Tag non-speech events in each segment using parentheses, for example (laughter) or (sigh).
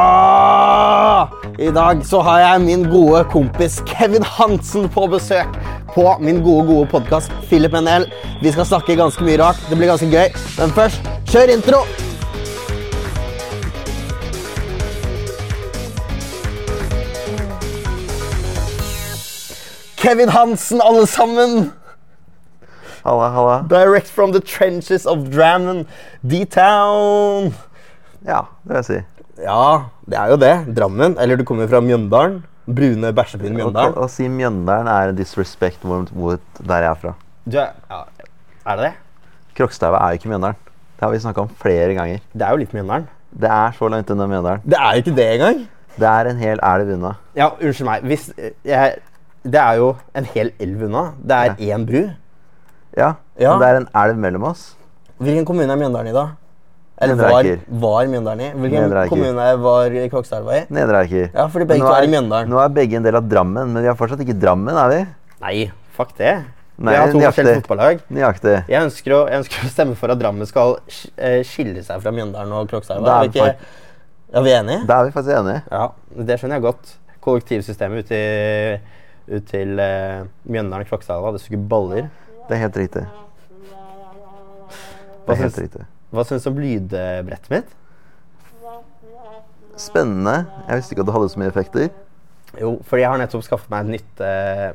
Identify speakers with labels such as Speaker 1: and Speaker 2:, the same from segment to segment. Speaker 1: Ja! I dag så har jeg min gode kompis Kevin Hansen på besøk på min gode, gode podkast Philip NL. Vi skal snakke ganske mye rart. Det blir ganske gøy. Men først, kjør intro! Kevin Hansen, alle sammen!
Speaker 2: Halla, halla.
Speaker 1: Direct from the trenches of Drammen, D-Town.
Speaker 2: Ja, det vil jeg si.
Speaker 1: Ja, det er jo det. Drammen. Eller du kommer fra Mjøndalen. Brune, bæsjebrune
Speaker 2: Å,
Speaker 1: Mjøndalen.
Speaker 2: å si Mjøndalen er en disrespect mot, mot der jeg er fra.
Speaker 1: Du er, ja, er det det?
Speaker 2: Krokstauet er jo ikke Mjøndalen. Det har vi snakka om flere ganger.
Speaker 1: Det er jo litt Mjøndalen.
Speaker 2: Det er så langt unna Mjøndalen.
Speaker 1: Det er jo ikke det engang.
Speaker 2: Det er en hel elv unna.
Speaker 1: Ja, unnskyld meg. Hvis eh, jeg, det er jo en hel elv unna. Det er én bru.
Speaker 2: Ja,
Speaker 1: Ja.
Speaker 2: Men det er en elv mellom oss.
Speaker 1: Hvilken kommune er Mjøndalen i, da? Eller
Speaker 2: Nedre
Speaker 1: var,
Speaker 2: Eiker.
Speaker 1: var Mjøndalen i? Hvilken
Speaker 2: Nedre Eiker.
Speaker 1: kommune var Krokstadelva i?
Speaker 2: Nedre Eiker.
Speaker 1: Ja, fordi begge
Speaker 2: Nå
Speaker 1: to er i Mjøndalen.
Speaker 2: Nå er begge en del av Drammen, men vi er fortsatt ikke Drammen, er vi?
Speaker 1: Nei, fuck det.
Speaker 2: Nei,
Speaker 1: Vi har to
Speaker 2: nøyaktig.
Speaker 1: forskjellige fotballag.
Speaker 2: Nøyaktig.
Speaker 1: Jeg ønsker, å, jeg ønsker å stemme for at Drammen skal sk- eh, skille seg fra Mjøndalen og Krokstadelva. Er
Speaker 2: Da er
Speaker 1: vi
Speaker 2: vi
Speaker 1: ikke- Ja, vi er enige?
Speaker 2: Da er vi faktisk enige.
Speaker 1: Ja, det skjønner jeg godt. Kollektivsystemet ut til, ut til eh, Mjøndalen Krokstadala, det suger baller.
Speaker 2: Det er helt riktig. Det
Speaker 1: Hva
Speaker 2: er helt
Speaker 1: syns-
Speaker 2: riktig.
Speaker 1: Hva syns du om lydbrettet mitt?
Speaker 2: Spennende. Jeg visste ikke at det hadde så mye effekter.
Speaker 1: Jo, fordi jeg har nettopp skaffet meg et nytt eh,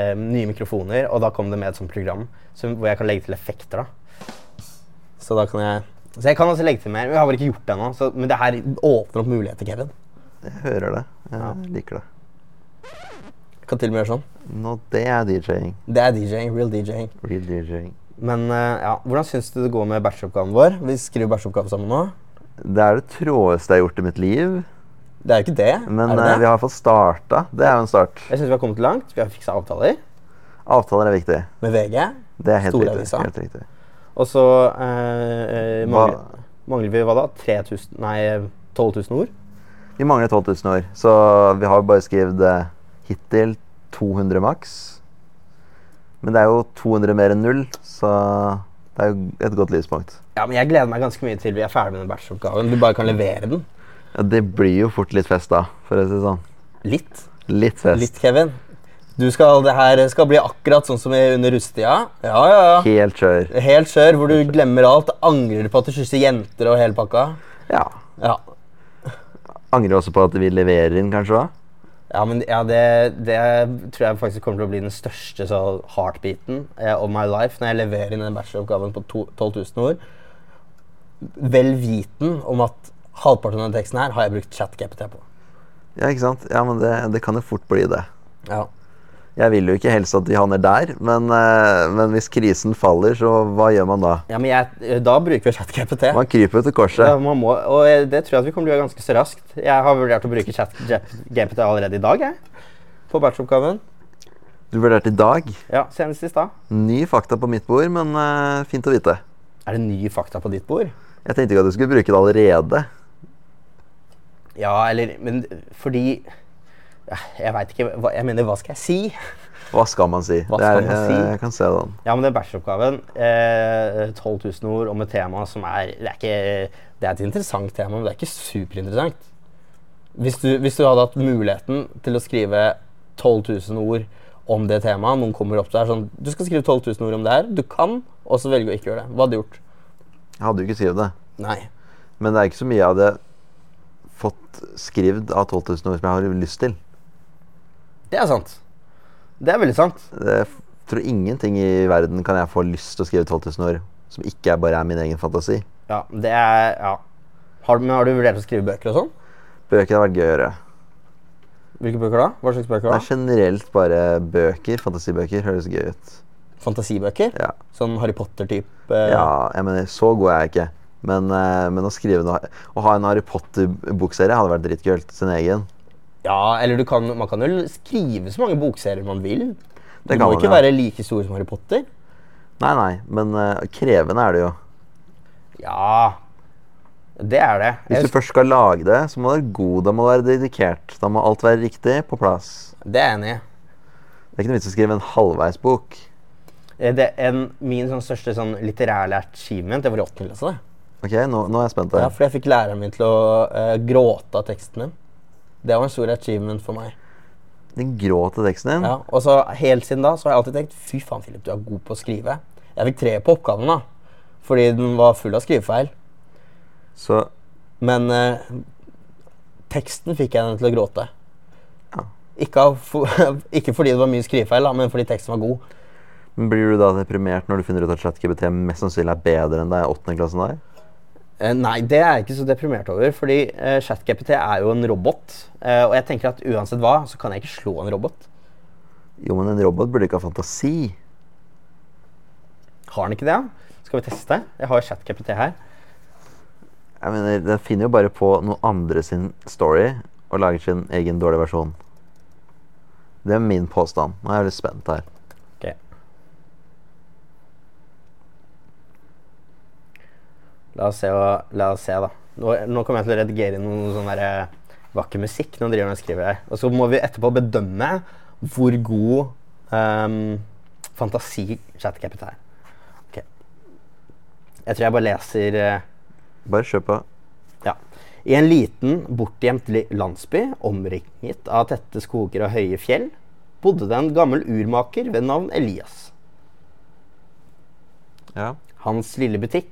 Speaker 1: eh, nye mikrofoner, og da kom det med et sånt program som, hvor jeg kan legge til effekter. da. Så da kan jeg Så jeg kan altså legge til mer. men Jeg har bare ikke gjort det ennå. så- Men det her åpner opp muligheter, Kevin.
Speaker 2: Jeg hører det.
Speaker 1: Ja.
Speaker 2: Jeg liker det.
Speaker 1: Jeg kan til og med gjøre sånn.
Speaker 2: Nå, det er DJ-ing.
Speaker 1: Det er DJ-ing. Real DJ-ing.
Speaker 2: Real DJ-ing.
Speaker 1: Men eh, ja, hvordan syns du det går med bacheloroppgaven vår? Vi skriver bacheloroppgave sammen nå.
Speaker 2: Det er det tråeste jeg har gjort i mitt liv.
Speaker 1: Det er jo ikke det.
Speaker 2: Men
Speaker 1: er det
Speaker 2: eh,
Speaker 1: det?
Speaker 2: vi har fått starta. Det er jo en start.
Speaker 1: Jeg synes vi har kommet langt. Vi har fiksa avtaler
Speaker 2: Avtaler er viktig.
Speaker 1: med VG.
Speaker 2: Det er helt
Speaker 1: Store
Speaker 2: riktig.
Speaker 1: avisa.
Speaker 2: Helt riktig.
Speaker 1: Og så eh, eh, mangler,
Speaker 2: Hva-
Speaker 1: mangler vi hva da? 3000, nei, 12 000 ord?
Speaker 2: Vi mangler 12 000 år, så vi har bare skrevet eh, hittil 200 maks. Men det er jo 200 mer enn null, så det er jo et godt livspunkt.
Speaker 1: Ja, men Jeg gleder meg ganske mye til vi er ferdig med den bacheloroppgaven. Du bare kan levere den.
Speaker 2: Ja, det blir jo fort litt fest, da, for å si det sånn.
Speaker 1: Litt.
Speaker 2: Litt fest.
Speaker 1: Litt, Kevin. Du skal, det her skal bli akkurat sånn som i under russetida. Ja, ja, ja.
Speaker 2: Helt kjør.
Speaker 1: Helt skjør, hvor du glemmer alt. Angrer på at du kysser jenter og hele pakka.
Speaker 2: Ja.
Speaker 1: Ja,
Speaker 2: Angrer også på at vi leverer inn, kanskje. hva?
Speaker 1: ja men ja, det, det tror jeg faktisk kommer til å bli den største så, heartbeaten eh, of my life når jeg leverer inn den bacheloroppgaven på to, 12 000 ord. Vel viten om at halvparten av den teksten her har jeg brukt ChatGPT på.
Speaker 2: Ja, ikke sant? Ja, men det, det kan jo fort bli det.
Speaker 1: Ja.
Speaker 2: Jeg vil jo ikke helst at de havner der, men, eh, men hvis krisen faller, så hva gjør man da?
Speaker 1: ja, men jeg, eh, da bruker vi ChatGPT.
Speaker 2: Man kryper jo til korset.
Speaker 1: Ja, man må, og jeg- det tror jeg at vi kommer til å gjøre ganske så raskt. Jeg har vurdert å bruke ChatGPT allerede i dag, jeg. På bacheloroppgaven.
Speaker 2: Du vurderte i dag.
Speaker 1: Ja, senest i stad.
Speaker 2: Ny fakta på mitt bord, men eh, fint å vite.
Speaker 1: Er det nye fakta på ditt bord?
Speaker 2: Jeg tenkte ikke at du skulle bruke det allerede.
Speaker 1: Ja, eller Men fordi ja, Jeg veit ikke hva, Jeg mener, hva skal jeg si?
Speaker 2: Hva skal man si?
Speaker 1: Hva skal man si?
Speaker 2: eh, Jeg kan se den.
Speaker 1: Ja, men den bacheloroppgaven, eh, 12 000 ord om et tema som er Det er, ikke, det er et interessant tema, men det er ikke superinteressant. Hvis du, hvis du hadde hatt muligheten til å skrive 12 000 ord om det temaet Noen kommer opp til deg sånn Du skal skrive 12 000 ord om det her. Du kan, og så velger du å ikke gjøre det. Hva hadde du gjort?
Speaker 2: Jeg hadde jo ikke skrevet det.
Speaker 1: Nei.
Speaker 2: Men det er ikke så mye jeg hadde fått skrevet av 12 000 ord som jeg har lyst til.
Speaker 1: Det er sant. Det er veldig sant.
Speaker 2: Jeg f- tror ingenting i verden kan jeg få lyst til å skrive 12 000 ord som ikke er bare er min egen fantasi.
Speaker 1: Ja, det er Ja. Har, men har du vurdert å skrive bøker og sånn?
Speaker 2: Bøker har vært gøy å gjøre.
Speaker 1: Hvilke bøker da? Hva slags bøker
Speaker 2: Det
Speaker 1: da?
Speaker 2: er generelt bare bøker. Fantasibøker høres gøy ut.
Speaker 1: Fantasibøker?
Speaker 2: Ja,
Speaker 1: Sånn Harry Potter-type?
Speaker 2: ja jeg mener, så god er jeg ikke. Men, eh, men å skrive noe Å ha en Harry Potter-bokserie hadde vært dritkult. Sin egen.
Speaker 1: Ja, eller du kan, man kan jo skrive så mange bokserier man vil. Du
Speaker 2: Det kan
Speaker 1: må
Speaker 2: man,
Speaker 1: ikke
Speaker 2: ja.
Speaker 1: være like stor som Harry Potter.
Speaker 2: Nei, nei, men eh, krevende er det jo.
Speaker 1: Ja, det er det.
Speaker 2: Hvis du
Speaker 1: Jeg,
Speaker 2: først skal lage det, så må du være god. Da må du være dedikert. Da må alt være riktig på plass.
Speaker 1: det er jeg enig i.
Speaker 2: Det er ikke noe vits i å skrive en halvveisbok.
Speaker 1: Eh, Det en, min sånn største sånn litterære achievement det var i åttende klasse. det.
Speaker 2: Ok, nå, nå er jeg spent.
Speaker 1: Ja,
Speaker 2: her.
Speaker 1: for jeg fikk læreren min til å eh, gråte av teksten min. Det var en stor achievement for meg.
Speaker 2: Den grå til teksten din?
Speaker 1: Ja, og så Helt siden da så har jeg alltid tenkt fy faen, Philip, du er god på å skrive. Jeg fikk tre på oppgaven, da. Fordi den var full av skrivefeil.
Speaker 2: Så
Speaker 1: Men eh, teksten fikk jeg henne til å gråte.
Speaker 2: Ja.
Speaker 1: Ikke, av for, (laughs) ikke fordi det var mye skrivefeil, da, men fordi teksten var god.
Speaker 2: men blir du da deprimert når du finner ut at ChatGPT mest sannsynlig er bedre enn deg i åttende klassen der?
Speaker 1: Eh, nei, det er jeg ikke så deprimert over, fordi eh, ChatGPT er jo en robot. Eh, og jeg tenker at uansett hva, så kan jeg ikke slå en robot.
Speaker 2: Jo, men en robot burde ikke ha fantasi.
Speaker 1: Har den ikke det? da? Skal vi teste? Jeg har ChatGPT her.
Speaker 2: Jeg mener, Den finner jo bare på noen andre sin story og lager sin egen dårlige versjon. Det er min påstand. Nå er jeg litt spent her.
Speaker 1: Ok. La oss se, hva- la oss se da. Nå, nå kommer jeg til å redigere inn noe sånn der, eh, vakker musikk når driver og skriver her. Og så må vi etterpå bedømme hvor god ehm, fantasi ChatCapit er. Ok. Jeg tror jeg bare leser eh,
Speaker 2: Bare kjør på.
Speaker 1: ja. I en liten, bortgjemt li- landsby, omringet av tette skoger og høye fjell, bodde det en gammel urmaker ved navn Elias.
Speaker 2: Ja.
Speaker 1: Hans lille butikk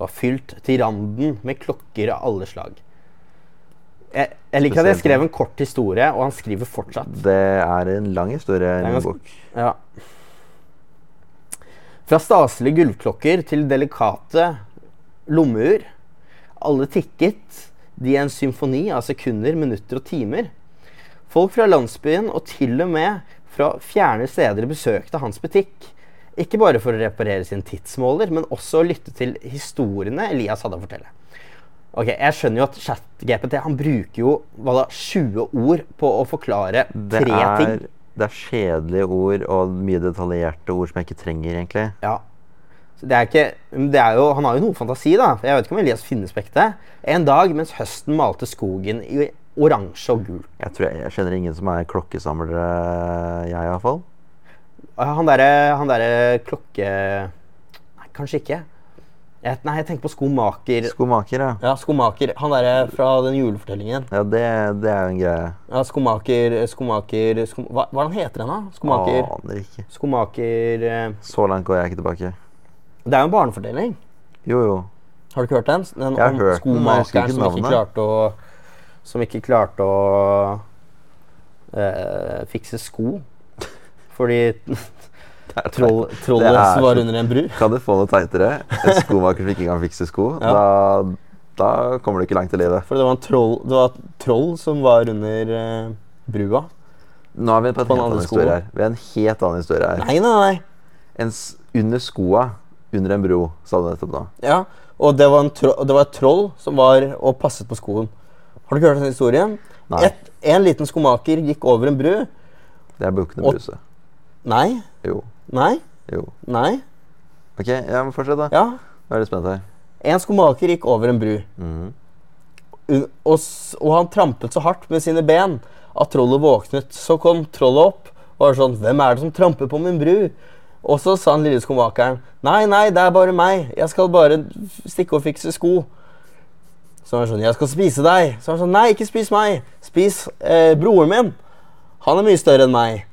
Speaker 1: var fylt til randen med klokker av alle slag. Jeg, jeg liker at jeg
Speaker 2: Spesielt.
Speaker 1: skrev en kort historie, og han skriver fortsatt.
Speaker 2: Det er en lang historie i
Speaker 1: er
Speaker 2: min
Speaker 1: ganske-
Speaker 2: bok.
Speaker 1: Ja. Fra staselige gulvklokker til delikate lommeur. Alle tikket de en symfoni av sekunder, minutter og timer. Folk fra landsbyen og til og med fra fjerne steder besøkte hans butikk. Ikke bare for å reparere sin tidsmåler, men også å lytte til historiene Elias hadde å fortelle. Ok, Jeg skjønner jo at ChatGPT han bruker jo hva da, 20 ord på å forklare
Speaker 2: Det
Speaker 1: tre ting.
Speaker 2: er, det er kjedelige ord og mye detaljerte ord som jeg ikke trenger, egentlig.
Speaker 1: Ja. Så det er ikke, men det er jo, han har jo noe fantasi, da. Jeg vet ikke om Elias finnes på ekte. En dag mens høsten malte skogen i oransje og gult.
Speaker 2: Jeg tror jeg, jeg kjenner ingen som er klokkesamlere, jeg iallfall.
Speaker 1: Og Ah, Han derre han derre klokke... Nei, kanskje ikke. Jeg, nei, jeg tenker på skomaker.
Speaker 2: Skomaker, ja.
Speaker 1: Ja, skomaker. Han derre fra den julefortellingen.
Speaker 2: Ja, det, det er jo en greie.
Speaker 1: Ja, skomaker, skomaker skom, hva, hva er det han heter han, da? Skomaker.
Speaker 2: Aner ikke.
Speaker 1: Ah, Skomaker eh,
Speaker 2: Så langt går jeg ikke tilbake.
Speaker 1: Det er jo en barnefortelling.
Speaker 2: Jo, jo.
Speaker 1: Har du ikke hørt den? Den
Speaker 2: Jeg har
Speaker 1: om
Speaker 2: hørt den, men jeg
Speaker 1: skomakeren
Speaker 2: husker ikke
Speaker 1: som ikke
Speaker 2: navnet.
Speaker 1: klarte å Som ikke klarte å eh, fikse sko. Fordi
Speaker 2: (laughs)
Speaker 1: (laughs) troll, trollet
Speaker 2: så-
Speaker 1: var under en bru.
Speaker 2: Kan du få noe teitere? En skomaker som ikke kan fikse sko?
Speaker 1: Ja.
Speaker 2: Da, da kommer du ikke langt i livet.
Speaker 1: For det var, en troll, det var et troll som var under eh, brua.
Speaker 2: Nå er vi på
Speaker 1: På
Speaker 2: en
Speaker 1: den
Speaker 2: helt
Speaker 1: andre
Speaker 2: annen
Speaker 1: skoen.
Speaker 2: historie her. Vi har en helt annen historie her.
Speaker 1: Nei, nei, nei.
Speaker 2: En s under skoa, under en bro, sa du nettopp nå.
Speaker 1: Ja, Og det var, en tro, det var et troll som var og passet på skoen. Har du ikke hørt den historien?
Speaker 2: Nei.
Speaker 1: Et, en liten skomaker gikk over en bru.
Speaker 2: Det er Bukkene
Speaker 1: Og-
Speaker 2: Bruse.
Speaker 1: Nei,
Speaker 2: Jo,
Speaker 1: nei,
Speaker 2: jo.
Speaker 1: nei.
Speaker 2: Ok, ja, men fortsett, da.
Speaker 1: Ja,
Speaker 2: Nå er jeg litt spent her.
Speaker 1: En skomaker gikk over en bru. Un- og, s- og han trampet så hardt med sine ben at trollet våknet. Så kom trollet opp og var sånn 'Hvem er det som tramper på min bru?' Og så sa den lille skomakeren 'Nei, nei, det er bare meg. Jeg skal bare f- stikke og fikse sko.' Så han sånn 'Jeg skal spise deg.' Så han sånn 'Nei, ikke spis meg. Spis eh, broren min. Han er mye større enn meg.'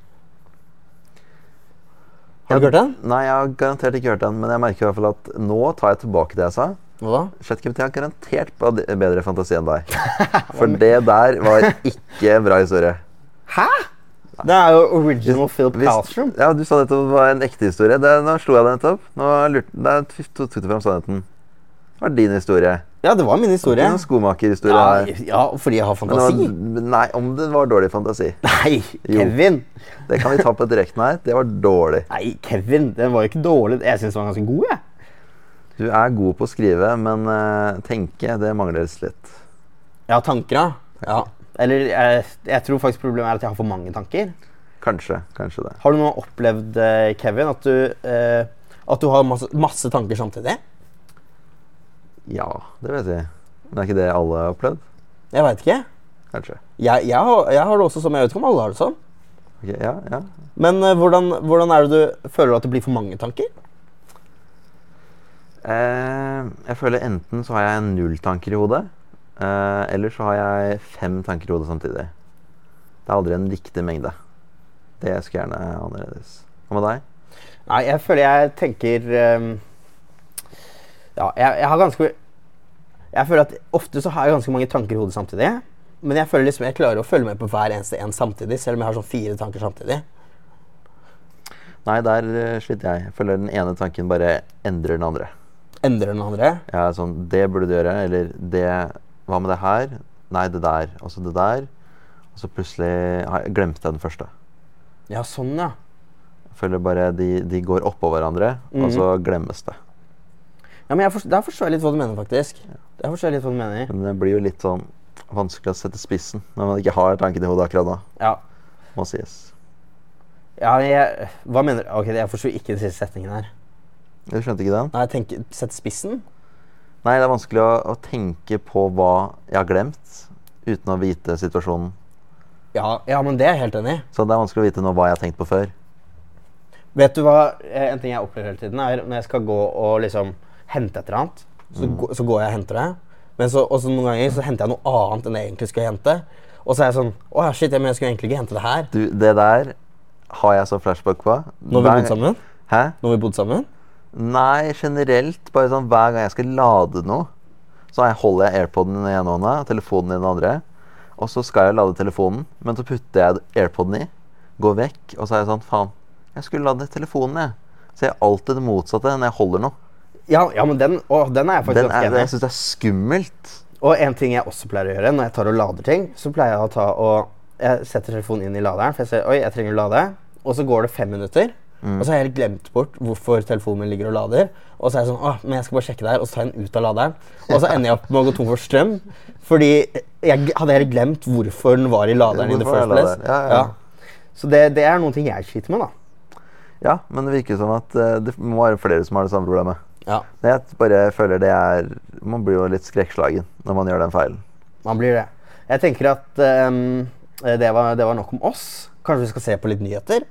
Speaker 1: Har du hørt den?
Speaker 2: Nei, jeg har garantert ikke hørt den, men jeg merker i hvert fall at nå tar jeg tilbake det jeg sa.
Speaker 1: Hva da?
Speaker 2: ChatGPT har garantert ba- bedre fantasi enn deg. (laughs) For det der var ikke en bra historie.
Speaker 1: Hæ? Det er jo original Philip
Speaker 2: Hvis-
Speaker 1: Palstrom.
Speaker 2: Ja, Du sa nettopp det var en ekte historie. Det, nå slo jeg deg nettopp. Nå lurte, der t- tok du frem sannheten. Det var din historie.
Speaker 1: Ja, det var min
Speaker 2: Det
Speaker 1: historie.
Speaker 2: er en skomakerhistorie
Speaker 1: Ja,
Speaker 2: her.
Speaker 1: ja, fordi jeg har
Speaker 2: Men
Speaker 1: fantasi.
Speaker 2: det var, nei, om det var dårlig fantasi.
Speaker 1: Nei,
Speaker 2: Jo.
Speaker 1: Kevin!
Speaker 2: Det kan vi ta på direkten her. Det var dårlig.
Speaker 1: Nei, Kevin, Den var jo ikke dårlig. Jeg syns den var ganske god. jeg.
Speaker 2: Du er god på å skrive, men eh, tenke, det mangles litt.
Speaker 1: Jeg har tanker, ja. ja. Eller jeg, jeg tror faktisk problemet er at jeg har for mange tanker.
Speaker 2: Kanskje. Kanskje det.
Speaker 1: Har du nå opplevd, eh, Kevin, at du, eh, at du har masse, masse tanker samtidig?
Speaker 2: Ja, det vet jeg. Men er ikke det alle har opplevd?
Speaker 1: Jeg veit ikke.
Speaker 2: Kanskje.
Speaker 1: Jeg, jeg, har, jeg har det også sånn. men Jeg vet ikke om alle har det sånn.
Speaker 2: Ok, ja, ja.
Speaker 1: Men eh, hvordan, hvordan er det du føler du at det blir for mange tanker?
Speaker 2: Eh, jeg føler enten så har jeg null tanker i hodet, eh, eller så har jeg fem tanker i hodet samtidig. Det er aldri en riktig mengde. Det skulle gjerne annerledes. Hva med deg?
Speaker 1: Nei, jeg føler jeg tenker ehm, Ja, jeg, jeg har ganske Jeg føler at ofte så har jeg ganske mange tanker i hodet samtidig. Men jeg føler liksom jeg klarer å følge med på hver eneste en samtidig, selv om jeg har sånn fire tanker samtidig.
Speaker 2: Nei, der eh, sliter jeg. Jeg føler den ene tanken bare endrer den andre.
Speaker 1: Endrer den andre.
Speaker 2: Jeg er sånn Det burde du gjøre. Eller det Hva med det her? Nei, det der. Og så det der. Og så plutselig har jeg- glemte jeg den første.
Speaker 1: Ja, sånn, ja.
Speaker 2: Jeg føler bare de, de går oppå hverandre, og så glemmes det.
Speaker 1: ja men jeg forstår, der forstår jeg litt hva du mener, faktisk. Der forstår jeg litt hva du mener.
Speaker 2: Men det blir jo litt sånn vanskelig å sette spissen når man ikke har tanken i hodet akkurat nå.
Speaker 1: Ja,
Speaker 2: Må sies.
Speaker 1: ja jeg, Hva mener Ok, jeg forsto ikke den siste setningen her.
Speaker 2: Du skjønte ikke den?
Speaker 1: Nei, jeg tenker, Sett spissen?
Speaker 2: Nei, det er vanskelig å, å tenke på hva jeg har glemt, uten å vite situasjonen.
Speaker 1: Ja, ja, men det er jeg helt enig i.
Speaker 2: Så det er vanskelig å vite nå hva jeg har tenkt på før.
Speaker 1: Vet du hva, eh, En ting jeg opplever hele tiden, er når jeg skal gå og liksom hente et eller annet, så, gå- så går jeg og henter det. Men så, og så noen ganger så henter jeg noe annet enn det jeg egentlig skulle hente. Og så er jeg sånn Å ja, shit, jeg, men jeg skulle egentlig ikke hente det her.
Speaker 2: Du, det der har jeg så flashback på.
Speaker 1: Når vi
Speaker 2: Hver-
Speaker 1: bodde sammen.
Speaker 2: Hæ?
Speaker 1: Når vi bodde sammen.
Speaker 2: Nei, generelt. Bare sånn hver gang jeg skal lade noe, så har jeg- holder jeg airpoden i den ene hånda, telefonen i den andre. Og så skal jeg lade telefonen, men så putter jeg airpoden i, går vekk, og så er jeg sånn Faen, jeg skulle lade telefonen, jeg. Så jeg er alltid det motsatte når jeg holder noe.
Speaker 1: Ja, ja men den, å, den er jeg faktisk
Speaker 2: Den
Speaker 1: ganske
Speaker 2: er,
Speaker 1: enig
Speaker 2: jeg
Speaker 1: i.
Speaker 2: syns det er skummelt.
Speaker 1: Og en ting jeg også pleier å gjøre når jeg tar og lader ting, så pleier jeg å ta og Jeg setter telefonen inn i laderen, for jeg ser oi, jeg trenger å lade. Og så går det fem minutter,
Speaker 2: Mm.
Speaker 1: og så har jeg helt glemt bort hvorfor telefonen min ligger og lader. Og så er jeg sånn åh, men jeg skal bare sjekke der, og så tar jeg den ut av laderen. Og så ender jeg opp med å gå tom for strøm, fordi jeg g- hadde helt glemt hvorfor den var i laderen. in the
Speaker 2: Hvorfor er
Speaker 1: first place.
Speaker 2: laderen? Ja, ja, ja.
Speaker 1: Så det, det er noen ting jeg sliter med, da.
Speaker 2: Ja, men det virker som at eh, det må være flere som har det samme problemet.
Speaker 1: Ja,
Speaker 2: Jeg bare føler det er Man blir jo litt skrekkslagen når man gjør den feilen.
Speaker 1: man blir det. Jeg tenker at ehm, det, var, det var nok om oss. Kanskje vi skal se på litt nyheter?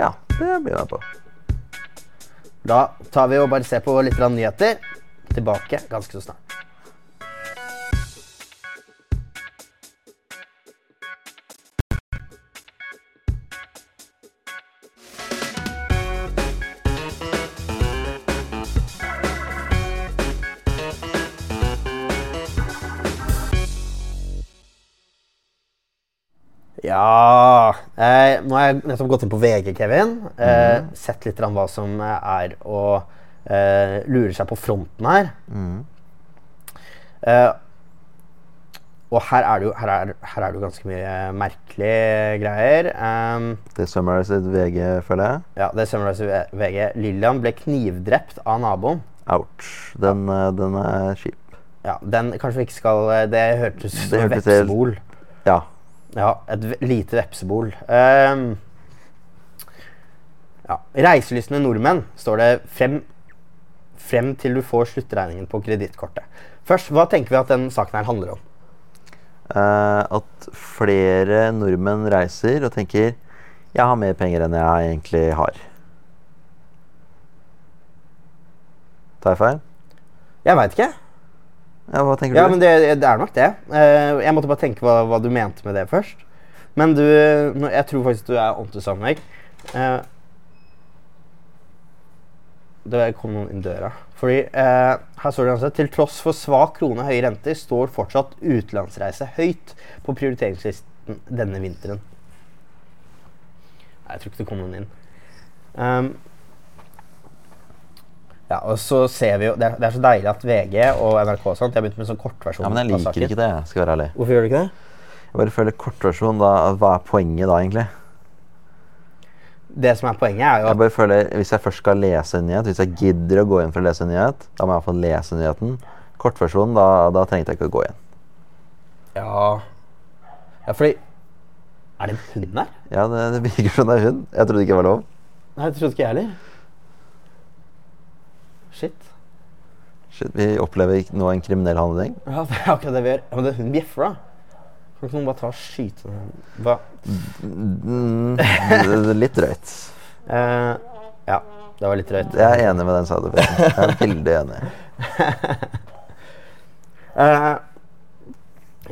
Speaker 2: Ja, det blir jeg med på.
Speaker 1: Da tar vi og bare ser på litt grann nyheter. Tilbake ganske så snart. Ja eh, Nå har jeg nettopp gått inn på VG, Kevin. Eh, Sett litt grann hva som eh, er å eh, lure seg på fronten her. Eh, og her er, det jo, her, er, her er det jo ganske mye eh, merkelige greier. Ehm,
Speaker 2: Det summariser VG, føler jeg.
Speaker 1: ja, det summariser V- VG. Lillian ble knivdrept av naboen.
Speaker 2: Ouch. Den, eh, den er kjip.
Speaker 1: Ja, den kanskje vi ikke skal eh, Det hørtes ut som et
Speaker 2: hørtes helt-
Speaker 1: vepsebol.
Speaker 2: Ja.
Speaker 1: Ja, et ve- lite vepsebol. Ehm, ja. Reiselystne nordmenn, står det frem, frem til du får sluttregningen på kredittkortet. Først, hva tenker vi at den saken her handler om?
Speaker 2: Eh, at flere nordmenn reiser og tenker jeg har mer penger enn jeg egentlig har. Tar jeg feil?
Speaker 1: Jeg veit ikke.
Speaker 2: Ja, hva tenker
Speaker 1: Ja,
Speaker 2: du?
Speaker 1: men det, det er nok det. Eh, jeg måtte bare tenke hva, hva du mente med det først. Men du, nå- jeg tror faktisk du er ondt i sammenheng. Eh, det kom noen inn døra. Fordi eh, her står det altså til tross for svak krone og høye renter står fortsatt utenlandsreise høyt på prioriteringslisten denne vinteren. Nei, Jeg tror ikke det kom noen inn. Ehm, ja, og så ser vi jo Det er, det er så deilig at VG og NRK og sånt, de har begynt med sånn kortversjon.
Speaker 2: Ja, men jeg
Speaker 1: av
Speaker 2: liker
Speaker 1: saken.
Speaker 2: ikke det, jeg skal være ærlig.
Speaker 1: Hvorfor gjør du ikke det?
Speaker 2: Jeg bare føler kortversjon, da Hva er poenget da, egentlig?
Speaker 1: Det som er poenget, er jo
Speaker 2: Jeg
Speaker 1: at
Speaker 2: bare føler, Hvis jeg først skal lese en nyhet, hvis jeg gidder å gå inn for å lese en nyhet, da må jeg iallfall lese nyheten. Kortversjon, da, da trengte jeg ikke å gå inn.
Speaker 1: Ja, ja fordi Er det en hund der?
Speaker 2: Ja, det, det virker som det er hund. Jeg trodde ikke det var lov.
Speaker 1: Nei, det trodde ikke jeg heller. Shit.
Speaker 2: Shit, vi opplever ikke nå en kriminell handling.
Speaker 1: Ja, det er akkurat det vi gjør. Ja, men det, hun bjeffer, da. Kan ikke noen bare ta og skyte den? Hva?
Speaker 2: Mm, litt drøyt.
Speaker 1: Eh, Ja, det var litt drøyt.
Speaker 2: Jeg er enig med den Saudi Arabia. Jeg er veldig enig.
Speaker 1: Eh,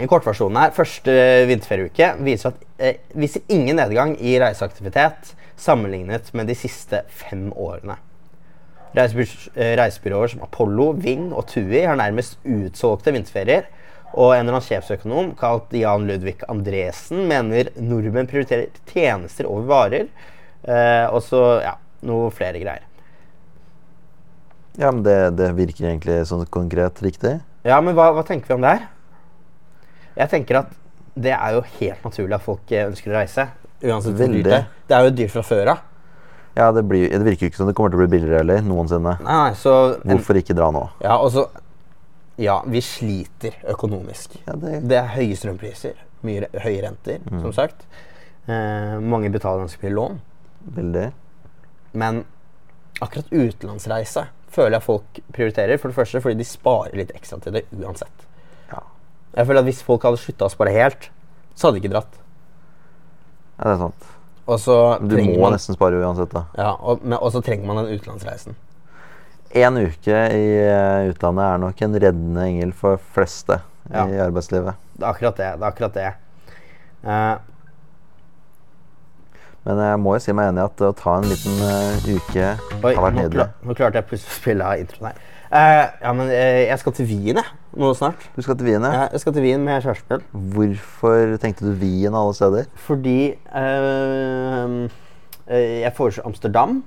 Speaker 1: I kortversjonen her, første vinterferieuke viser, at, eh, viser ingen nedgang i reiseaktivitet sammenlignet med de siste fem årene. Reiseby- eh, Reisebyråer som Apollo, Ving og Tui har nærmest utsolgte vinterferier. Og en eller annen sjefsøkonom kalt Jan Ludvig Andresen mener nordmenn prioriterer tjenester over varer. Eh, og så ja, noe flere greier.
Speaker 2: Ja, men det, det virker egentlig sånn konkret riktig.
Speaker 1: Ja, men hva, hva tenker vi om det her? Jeg tenker at det er jo helt naturlig at folk eh, ønsker å reise. Uansett hvor dyrt
Speaker 2: Veldig.
Speaker 1: det er. Det er jo dyrt fra før av.
Speaker 2: Ja, det, blir, det virker jo ikke som det kommer til å bli billigere heller noensinne.
Speaker 1: Nei, nei, så en,
Speaker 2: Hvorfor ikke dra nå?
Speaker 1: Ja, og så Ja, vi sliter økonomisk.
Speaker 2: Ja, det,
Speaker 1: Det er høye strømpriser, mye re- høye renter,
Speaker 2: Mm.
Speaker 1: som sagt. Eh, mange betaler ganske mye lån.
Speaker 2: Veldig.
Speaker 1: Men akkurat utenlandsreise føler jeg folk prioriterer. For det første fordi de sparer litt ekstra til det uansett.
Speaker 2: Ja.
Speaker 1: Jeg føler at Hvis folk hadde slutta å spare helt, så hadde de ikke dratt.
Speaker 2: ja, det er sant.
Speaker 1: Og så
Speaker 2: Du
Speaker 1: trenger
Speaker 2: må
Speaker 1: man
Speaker 2: nesten spare uansett, da.
Speaker 1: Ja, og, men, og så trenger man den utenlandsreisen.
Speaker 2: Én uke i eh, utlandet er nok en reddende engel for fleste
Speaker 1: Ja.
Speaker 2: i arbeidslivet.
Speaker 1: Det er akkurat det. det, er akkurat det. Eh,
Speaker 2: Men jeg må jo si meg enig i at å ta en liten eh, uke
Speaker 1: oi,
Speaker 2: har vært
Speaker 1: nå,
Speaker 2: nydelig.
Speaker 1: kla- nå klarte jeg plutselig å spille av introen her. Eh, ja, men eh, jeg skal til Wien jeg, nå snart.
Speaker 2: Du skal til Wien, ja.
Speaker 1: Jeg, jeg skal til Wien med kjæresten min.
Speaker 2: Hvorfor tenkte du Wien alle steder?
Speaker 1: Fordi eh, eh, jeg foreslo Amsterdam.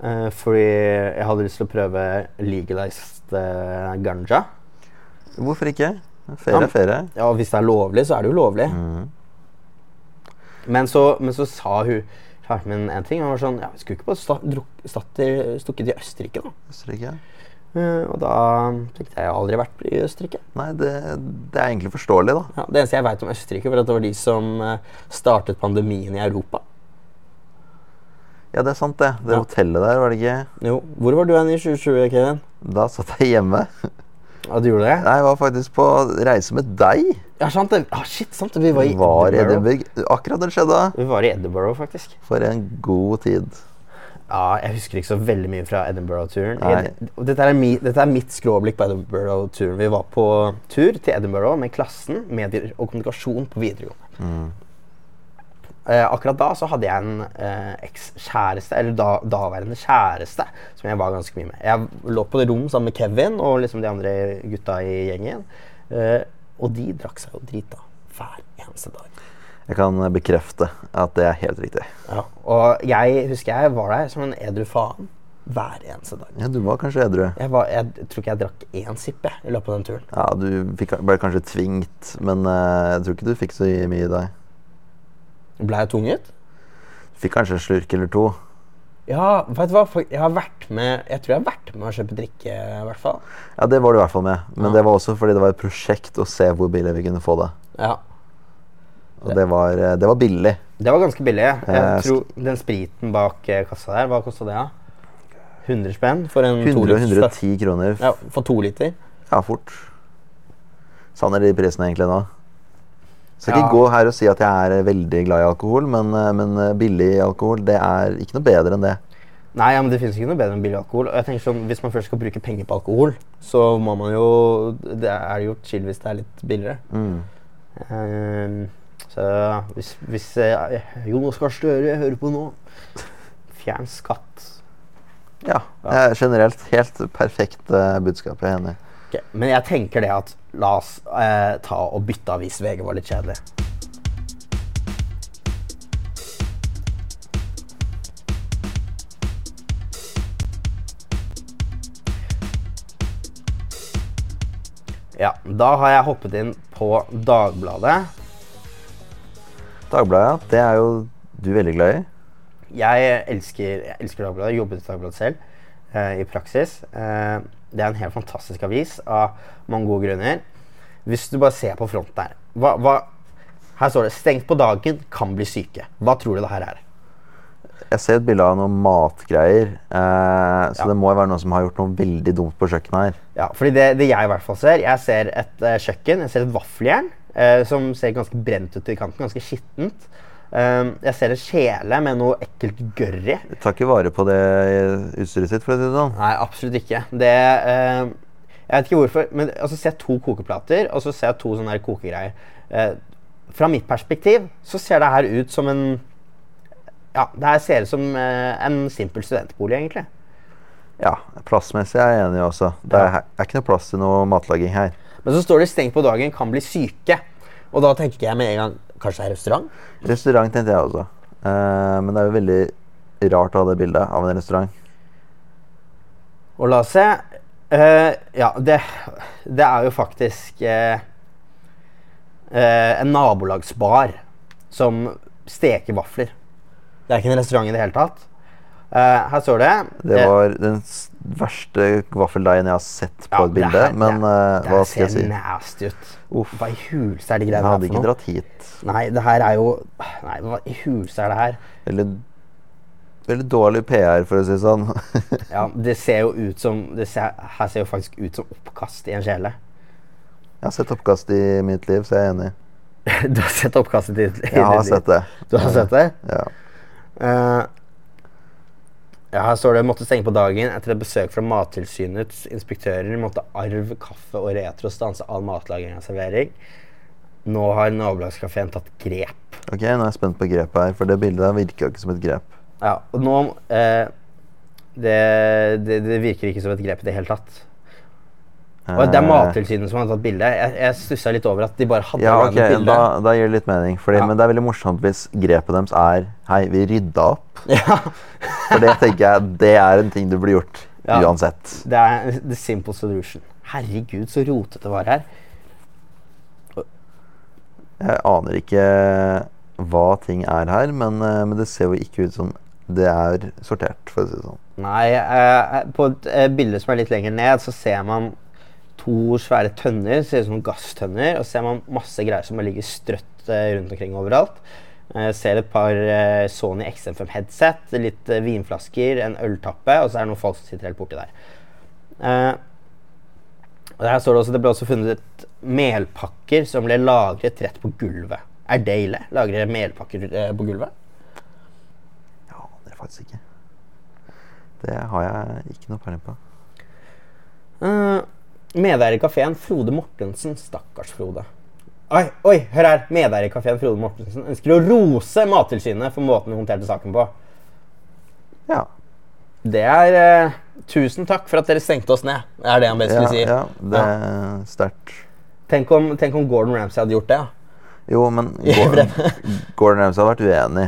Speaker 1: eh, fordi jeg hadde lyst til å prøve legalized eh, ganja.
Speaker 2: Hvorfor ikke?
Speaker 1: Ja,
Speaker 2: Ferie
Speaker 1: men-
Speaker 2: er ferie.
Speaker 1: Ja, og hvis det er lovlig, så er det jo lovlig. Men, så, men så sa hun kjæresten min en ting. Han var sånn Ja, vi skulle ikke bare sta, druk, statt i, stukket i Østerrike, da.
Speaker 2: Østerrike?
Speaker 1: Eh, og da tenkte jeg jeg har aldri vært i Østerrike.
Speaker 2: Nei, det, det er egentlig forståelig, da.
Speaker 1: Ja, det eneste jeg veit om Østerrike, var at det var de som eh, startet pandemien i Europa.
Speaker 2: Ja, det er sant, det. Det
Speaker 1: Ja.
Speaker 2: hotellet der, var det ikke
Speaker 1: Jo, Hvor var du hen i 2020, Kevin?
Speaker 2: Da satt jeg hjemme.
Speaker 1: Ja, du gjorde det?
Speaker 2: Nei, Jeg var faktisk på reise med deg.
Speaker 1: Ja, sant det. Ah, shit, sant det. Vi var i
Speaker 2: Var i
Speaker 1: Edinburgh.
Speaker 2: Edinburgh. Akkurat det skjedde. da.
Speaker 1: Vi var i Edinburgh, faktisk.
Speaker 2: For en god tid.
Speaker 1: Ja, Jeg husker ikke så veldig mye fra Edinburgh-turen.
Speaker 2: Nei.
Speaker 1: Edi- og Dette, er mi- dette er mitt skråblikk på Edinburgh-turen. Vi var på tur til Edinburgh med klassen medier og kommunikasjon på videregående. Eh, akkurat da så hadde jeg en eh, ekskjæreste, eller da, daværende kjæreste, som jeg var ganske mye med. Jeg lå på det rom sammen med Kevin og liksom de andre gutta i gjengen. Eh, og de drakk seg jo drita hver eneste dag.
Speaker 2: Jeg kan bekrefte at det er helt riktig.
Speaker 1: Ja, og jeg husker jeg var der som en edru faen hver eneste dag.
Speaker 2: Ja, Du var kanskje edru.
Speaker 1: Jeg, var, jeg tror ikke jeg drakk én sipp jeg, i løpet av den turen.
Speaker 2: Ja, Du fikk, ble kanskje tvingt, men eh, jeg tror ikke du fikk så mye i deg.
Speaker 1: Ble jeg tvunget?
Speaker 2: Fikk kanskje en slurk eller to.
Speaker 1: Ja, vet du hva? fak- Jeg har vært med Jeg tror jeg har vært med å kjøpe drikke, i hvert fall.
Speaker 2: Ja, Det var du i hvert fall med. Men det var også fordi det var et prosjekt å se hvor billig vi kunne få det.
Speaker 1: Ja.
Speaker 2: Og det var, eh, det var billig.
Speaker 1: Det var ganske billig. Jeg
Speaker 2: Eh,
Speaker 1: tror Den spriten bak eh, kassa der, hva kosta det? da? 100 spenn for en
Speaker 2: 100
Speaker 1: to
Speaker 2: og
Speaker 1: liters
Speaker 2: 110 kroner.
Speaker 1: Ja, for to liter.
Speaker 2: Ja, fort. Savner de prisene egentlig nå. Skal
Speaker 1: Ja.
Speaker 2: ikke gå her og si at jeg er eh, veldig glad i alkohol, men, eh, men eh, billig alkohol det er ikke noe bedre enn det.
Speaker 1: Nei, ja, men Det fins ikke noe bedre enn billig alkohol. Og jeg tenker sånn, Hvis man først skal bruke penger på alkohol, så må man jo Det er jo chill hvis det er litt billigere.
Speaker 2: Mm.
Speaker 1: Ehm, så hvis, hvis eh, Jonas Gahr Støre hører på nå Fjern skatt.
Speaker 2: Ja, det er generelt helt perfekt eh, budskap. Jeg er enig.
Speaker 1: Ok, Men jeg tenker det at la oss eh, ta og bytte avis. VG var litt kjedelig. Ja, da har jeg hoppet inn på Dagbladet.
Speaker 2: Dagbladet, ja. Det er jo du veldig glad i.
Speaker 1: Jeg elsker, jeg elsker Dagbladet. Jeg jobbet i Dagbladet selv eh, i praksis. Eh, det er en helt fantastisk avis av mange gode grunner. Hvis du bare ser på fronten her hva, hva, Her står det 'Stengt på dagen kan bli syke'. Hva tror du det her er?
Speaker 2: Jeg ser et bilde av noen matgreier, eh, så det må jo være noen som har gjort noe veldig dumt på kjøkkenet her.
Speaker 1: Ja, fordi det, det jeg i hvert fall ser Jeg ser et eh, kjøkken, jeg ser et vaffeljern eh, som ser ganske brent ut i kanten, ganske skittent. Ehm, jeg ser en kjele med noe ekkelt gørr i.
Speaker 2: Jeg tar ikke vare på det utstyret sitt, for å si det sånn.
Speaker 1: Nei, absolutt ikke. Det ehm, Jeg vet ikke hvorfor, men altså, ser jeg to kokeplater og så ser jeg to sånne her kokegreier. Eh, fra mitt perspektiv så ser det her ut som en Ja, det her ser ut som eh, en simpel studentbolig, egentlig.
Speaker 2: Ja, Plassmessig er jeg enig også. Det er, er ikke noe plass til noe matlaging her.
Speaker 1: Men så står det 'stengt på dagen, kan bli syke'. Og da tenker jeg med en gang Kanskje det er restaurant?
Speaker 2: Restaurant tenkte jeg også. Eh, men det er jo veldig rart å ha det bildet av en restaurant.
Speaker 1: Og la oss se. Eh, ja, det, det er jo faktisk eh, eh, en nabolagsbar som steker vafler. Det er ikke en restaurant i det hele tatt. Eh, her står det
Speaker 2: Det
Speaker 1: eh,
Speaker 2: var den s- verste vaffeldeigen jeg har sett på
Speaker 1: ja,
Speaker 2: et bilde.
Speaker 1: det her- det-
Speaker 2: men eh,
Speaker 1: det her
Speaker 2: hva skal jeg si?
Speaker 1: ser nasty ut.
Speaker 2: Uff.
Speaker 1: Hva i huleste er de
Speaker 2: Jeg
Speaker 1: greiene
Speaker 2: hadde
Speaker 1: her
Speaker 2: ikke
Speaker 1: for noe?
Speaker 2: dratt hit.
Speaker 1: Nei, det her er jo Nei, hva i huleste er det her?
Speaker 2: Veldig, veldig dårlig PR, for å si det sånn. (laughs)
Speaker 1: Ja, det ser jo ut som det ser, Her ser jo faktisk ut som oppkast i en kjele. (laughs)
Speaker 2: jeg har sett oppkast i mitt liv, så jeg er enig.
Speaker 1: Du har sett oppkastet ditt? i
Speaker 2: Jeg har
Speaker 1: ditt liv.
Speaker 2: sett det.
Speaker 1: (laughs) Du har sett det?
Speaker 2: Ja.
Speaker 1: Eh, ja, her står det måtte stenge på dagen etter et besøk fra Mattilsynets inspektører. Måtte arv, kaffe og retro stanse all matlaging og servering. Nå har nabolagskafeen tatt grep.
Speaker 2: Ok, nå er jeg spent på grepet her, for det bildet der virka ikke som et grep.
Speaker 1: Ja, og nå eh, det, det, det virker ikke som et grep i det hele tatt. Og Det er
Speaker 2: Eh,
Speaker 1: Mattilsynet som har tatt bildet. Jeg, jeg stussa litt over at de bare hadde
Speaker 2: Ja, ok,
Speaker 1: laget bildet.
Speaker 2: da, da gir det litt mening. Fordi,
Speaker 1: Ja.
Speaker 2: Men det er veldig morsomt hvis grepet deres er Hei, vi rydda opp.
Speaker 1: (laughs) Ja,
Speaker 2: For det tenker jeg, det er en ting du blir gjort
Speaker 1: Ja.
Speaker 2: uansett.
Speaker 1: det er the simple solution. Herregud, så rotete det var her.
Speaker 2: Jeg aner ikke hva ting er her, men, eh, men det ser jo ikke ut som det er sortert, for å si det sånn.
Speaker 1: Nei, eh, på et eh, bilde som er litt lenger ned, så ser man to svære tønner, ser ut som gasstønner, og ser man masse greier som bare ligger strøtt eh, rundt omkring overalt. Eh, ser et par eh, Sony XM5 headset, litt eh, vinflasker, en øltappe, og så er det noen folk som sitter helt borti der. Eh, og her står det også det ble også funnet melpakker som ble lagret rett på gulvet. Er det ille? Lagre melpakker eh, på gulvet?
Speaker 2: Jeg aner faktisk ikke. Det har jeg ikke noe peiling på.
Speaker 1: Uh, medeier i kafeen Frode Mortensen. Stakkars Frode. Oi, oi, hør her! Medeier i kafeen Frode Mortensen ønsker å rose Mattilsynet for måten de håndterte saken på.
Speaker 2: Ja.
Speaker 1: Det er eh, Tusen takk for at dere stengte oss ned. er det han best
Speaker 2: Ja,
Speaker 1: vil si.
Speaker 2: ja, det
Speaker 1: Ja.
Speaker 2: er sterkt.
Speaker 1: Tenk, om, tenk om Gordon Ramsay hadde gjort det. ja.
Speaker 2: Jo, men (laughs) Gordon, Gordon Ramsay har vært uenig.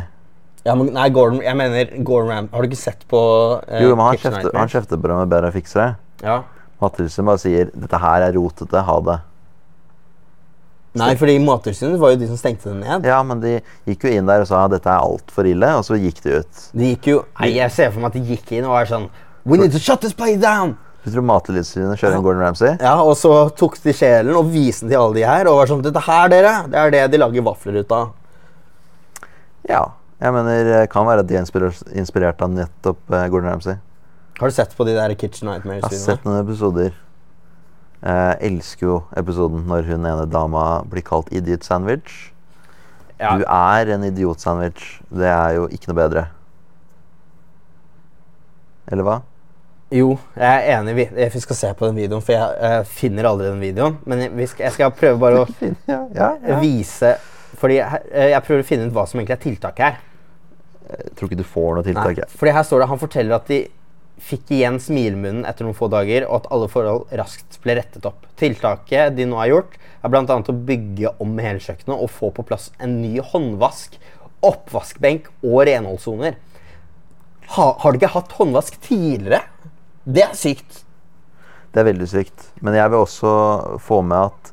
Speaker 1: Ja, men, nei, Gordon, jeg mener Gordon Ram... Har du ikke sett på eh,
Speaker 2: Jo, men han
Speaker 1: Kitchen
Speaker 2: kjefter, han
Speaker 1: Nightmares?
Speaker 2: kjefter på dem med bedre fiksere.
Speaker 1: Ja.
Speaker 2: Mattilsen bare sier 'dette her er rotete, ha det'.
Speaker 1: Nei, fordi Mattilsynet var jo de som stengte det ned.
Speaker 2: Ja, men de gikk jo inn der og sa 'dette er altfor ille', og så gikk de ut.
Speaker 1: De gikk jo Nei, jeg ser for meg at de gikk inn og var sånn We need to shut this place down!
Speaker 2: Du tror Mattilsynet kjører en Gordon Ramsay?
Speaker 1: Ja, og så tok de sjelen og viste den til alle de her. Og var sånn, dette her, dere, det er det de lager vafler ut av.
Speaker 2: Ja. Jeg mener, det kan være at de er inspirert, inspirert av nettopp eh, Gordon Ramsay.
Speaker 1: Har du sett på de der Kitchen
Speaker 2: Jeg har sett
Speaker 1: Nightmares-videoene?
Speaker 2: noen episoder. Eh, elsker jo episoden når hun ene dama blir kalt idiot sandwich.
Speaker 1: Ja,
Speaker 2: Du er en idiot sandwich. Det er jo ikke noe bedre. Eller hva?
Speaker 1: jo, jeg er enig. Vi, eh, vi skal se på den videoen, for jeg eh, finner aldri den videoen. Men jeg- vi skal, jeg skal prøve bare å
Speaker 2: Ja, ja,
Speaker 1: vise Fordi jeg, eh, jeg prøver å finne ut hva som egentlig er tiltaket her.
Speaker 2: Jeg tror ikke du får noe
Speaker 1: Nei,
Speaker 2: tiltak. jeg.
Speaker 1: Fordi her står det han forteller at de fikk igjen smilemunnen etter noen få dager, og at alle forhold raskt ble rettet opp. Tiltaket de nå har gjort, er bl.a. å bygge om hele kjøkkenet og få på plass en ny håndvask, oppvaskbenk og renholdssoner. Ha, har du ikke hatt håndvask tidligere? Det er sykt.
Speaker 2: Det er veldig sykt. Men jeg vil også få med at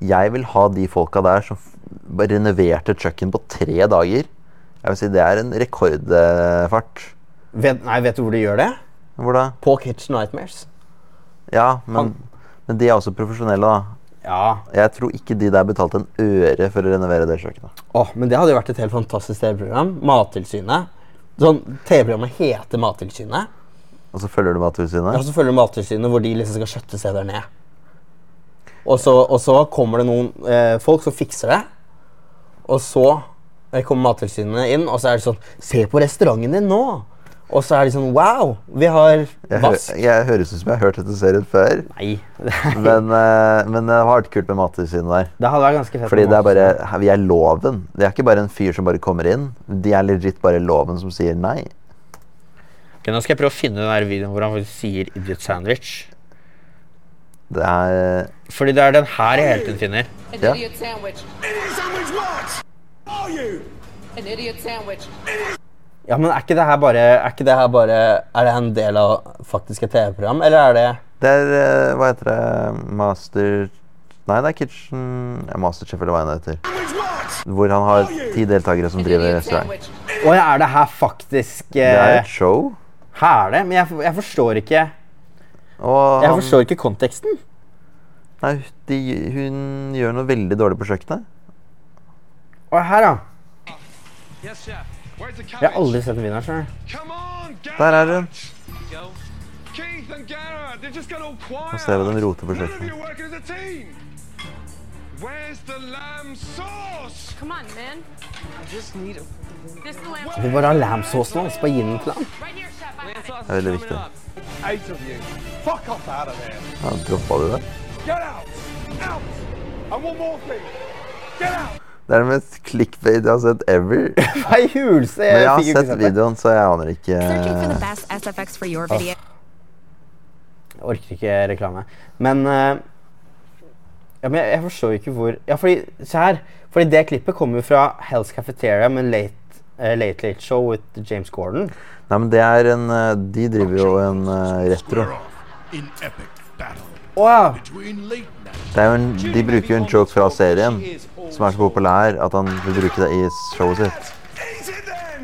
Speaker 2: jeg vil ha de folka der som f- bare renoverte et kjøkken på tre dager. Jeg vil si Det er en rekordfart.
Speaker 1: Vet, nei, vet du hvor de gjør det?
Speaker 2: Hvor da?
Speaker 1: På Kitchen Nightmares.
Speaker 2: Ja, men,
Speaker 1: Han-
Speaker 2: men de er også profesjonelle, da.
Speaker 1: Ja,
Speaker 2: Jeg tror ikke de der betalte en øre for å renovere det kjøkkenet.
Speaker 1: Åh, men det hadde jo vært et helt fantastisk TV-program. Mattilsynet. Sånn, TV-programmet heter Mattilsynet.
Speaker 2: Og så følger du Mattilsynet?
Speaker 1: Ja, så følger du Mattilsynet, hvor de liksom skal skjøtte seg der ned. Og så, og så kommer det noen eh, folk som fikser det. Og så Eh, kommer Mattilsynet inn, og så er det sånn Se på restauranten din nå! Og så er de sånn Wow! Vi har
Speaker 2: Jeg, hø
Speaker 1: vask.
Speaker 2: jeg høres ut som jeg har hørt dette serien før,
Speaker 1: (laughs) Nei.
Speaker 2: men, eh, men det har vært kult med Mattilsynet der.
Speaker 1: Det hadde vært ganske fett.
Speaker 2: Fordi
Speaker 1: med
Speaker 2: det er bare,
Speaker 1: Mattilsynet.
Speaker 2: vi er loven. Det er ikke bare en fyr som bare kommer inn. De er legit bare loven som sier nei.
Speaker 1: Ok, Nå skal jeg prøve å finne den der videoen hvor han faktisk sier 'idiot sandwich'.
Speaker 2: Det er
Speaker 1: Fordi det er den her jeg hele tiden finner.
Speaker 3: An
Speaker 2: Yeah.
Speaker 3: idiot sandwich.
Speaker 4: Sandwich what? Are you?
Speaker 3: An idiot sandwich.
Speaker 1: Ja, men er ikke det her bare Er, ikke det her bare, er det en del av faktiske TV-program, eller er det
Speaker 2: Det er eh, Hva heter det? Master Nei, det er Kitchen ja, Masterchef, eller hva enn det heter.
Speaker 4: Sandwich what?
Speaker 2: Hvor han har ti deltakere som
Speaker 3: An
Speaker 2: driver
Speaker 3: idiot
Speaker 2: restaurant.
Speaker 3: sandwich.
Speaker 1: Å ja, er det her faktisk
Speaker 2: Det er
Speaker 1: eh,
Speaker 2: et show.
Speaker 1: Her er det, men jeg, jeg forstår ikke
Speaker 2: Og
Speaker 1: Jeg
Speaker 2: han,
Speaker 1: forstår ikke konteksten.
Speaker 2: nei, de, hun gjør noe veldig dårlig på kjøkkenet.
Speaker 1: Å, her, ja.
Speaker 5: Yes, chef. Where's the
Speaker 1: Jeg har
Speaker 5: cabbage?
Speaker 1: aldri sett en vinner sjøl.
Speaker 5: Come on, Garrett!
Speaker 2: Der er hun.
Speaker 5: Go. Keith and Garrett, they've just got all quiet.
Speaker 2: Og ser vi den roter på
Speaker 5: None of
Speaker 2: kjøkkenet.
Speaker 5: you working as a team. Where's the lamb sauce?
Speaker 6: Come on, man.
Speaker 5: Just need a
Speaker 6: This is the lamp.
Speaker 1: Du bare har lamsausen hans. Bare gi den til (laughs) han.
Speaker 6: Right here, Chef. I have it.
Speaker 5: sauce.
Speaker 2: Det er veldig viktig.
Speaker 5: Eight of you. Fuck off out of there.
Speaker 2: Ja, droppa du det?
Speaker 5: Get out! Out! And one more thing. Get out!
Speaker 2: Det er den mest clickbait jeg har sett ever. Men
Speaker 1: Hei, hulse! Jeg, (laughs)
Speaker 2: jeg har
Speaker 1: fikk jo ikke
Speaker 2: sett
Speaker 1: sett det.
Speaker 2: videoen, så jeg aner ikke
Speaker 7: Searching for the best SFX for your video.
Speaker 1: Jeg orker ikke reklame. Men eh, ja, men jeg, jeg forstår jo ikke hvor Ja, fordi Se her. Fordi det klippet kommer jo fra Hell's Cafeteria med Late, eh, late Late Show with James Gordon.
Speaker 2: Nei, men det er en eh, De driver jo en eh, retro.
Speaker 4: Square off in epic battle
Speaker 1: Å ja!
Speaker 4: between late night
Speaker 2: Det er jo en, de bruker jo en joke fra serien som er så populær at han vil bruke det i showet sitt.
Speaker 5: Eat it then!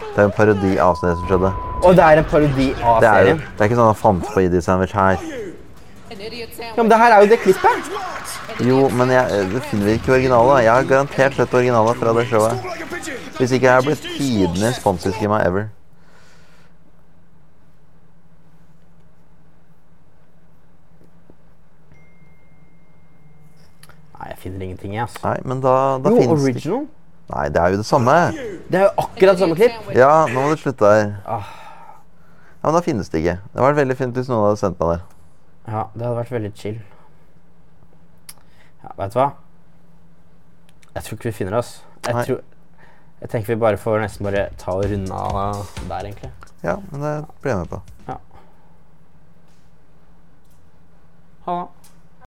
Speaker 2: Det er en parodi av det som skjedde.
Speaker 1: Og det er en parodi av
Speaker 2: Det er, jo,
Speaker 1: serien.
Speaker 2: det er ikke sånn han fant på ID Sandwich her.
Speaker 3: An idiot
Speaker 1: Ja, men
Speaker 3: sandwich.
Speaker 1: det her er jo det klippet!
Speaker 2: Jo, men jeg, eh, det finner vi ikke originalen. Jeg har garantert sett originalen fra det showet.
Speaker 4: Talk like a pigeon.
Speaker 2: Hvis ikke jeg har blitt tidenes sponsorskema ever.
Speaker 1: Nei, jeg finner ingenting, jeg, altså.
Speaker 2: Nei, men da, da
Speaker 1: Jo,
Speaker 2: finnes det ikke.
Speaker 1: original.
Speaker 2: Nei, det er jo det samme.
Speaker 1: Det er jo akkurat samme klipp.
Speaker 2: Ja, nå må du slutte der. Ja, men da finnes det ikke. Det hadde vært veldig fint hvis noen hadde sendt meg det.
Speaker 1: Ja, det hadde vært veldig chill. Ja, vet du hva? Jeg tror ikke vi finner oss. Jeg,
Speaker 2: Nei.
Speaker 1: tror, jeg tenker vi bare får nesten bare ta og runde av der, egentlig.
Speaker 2: Ja, men det blir jeg med på.
Speaker 1: Ha det.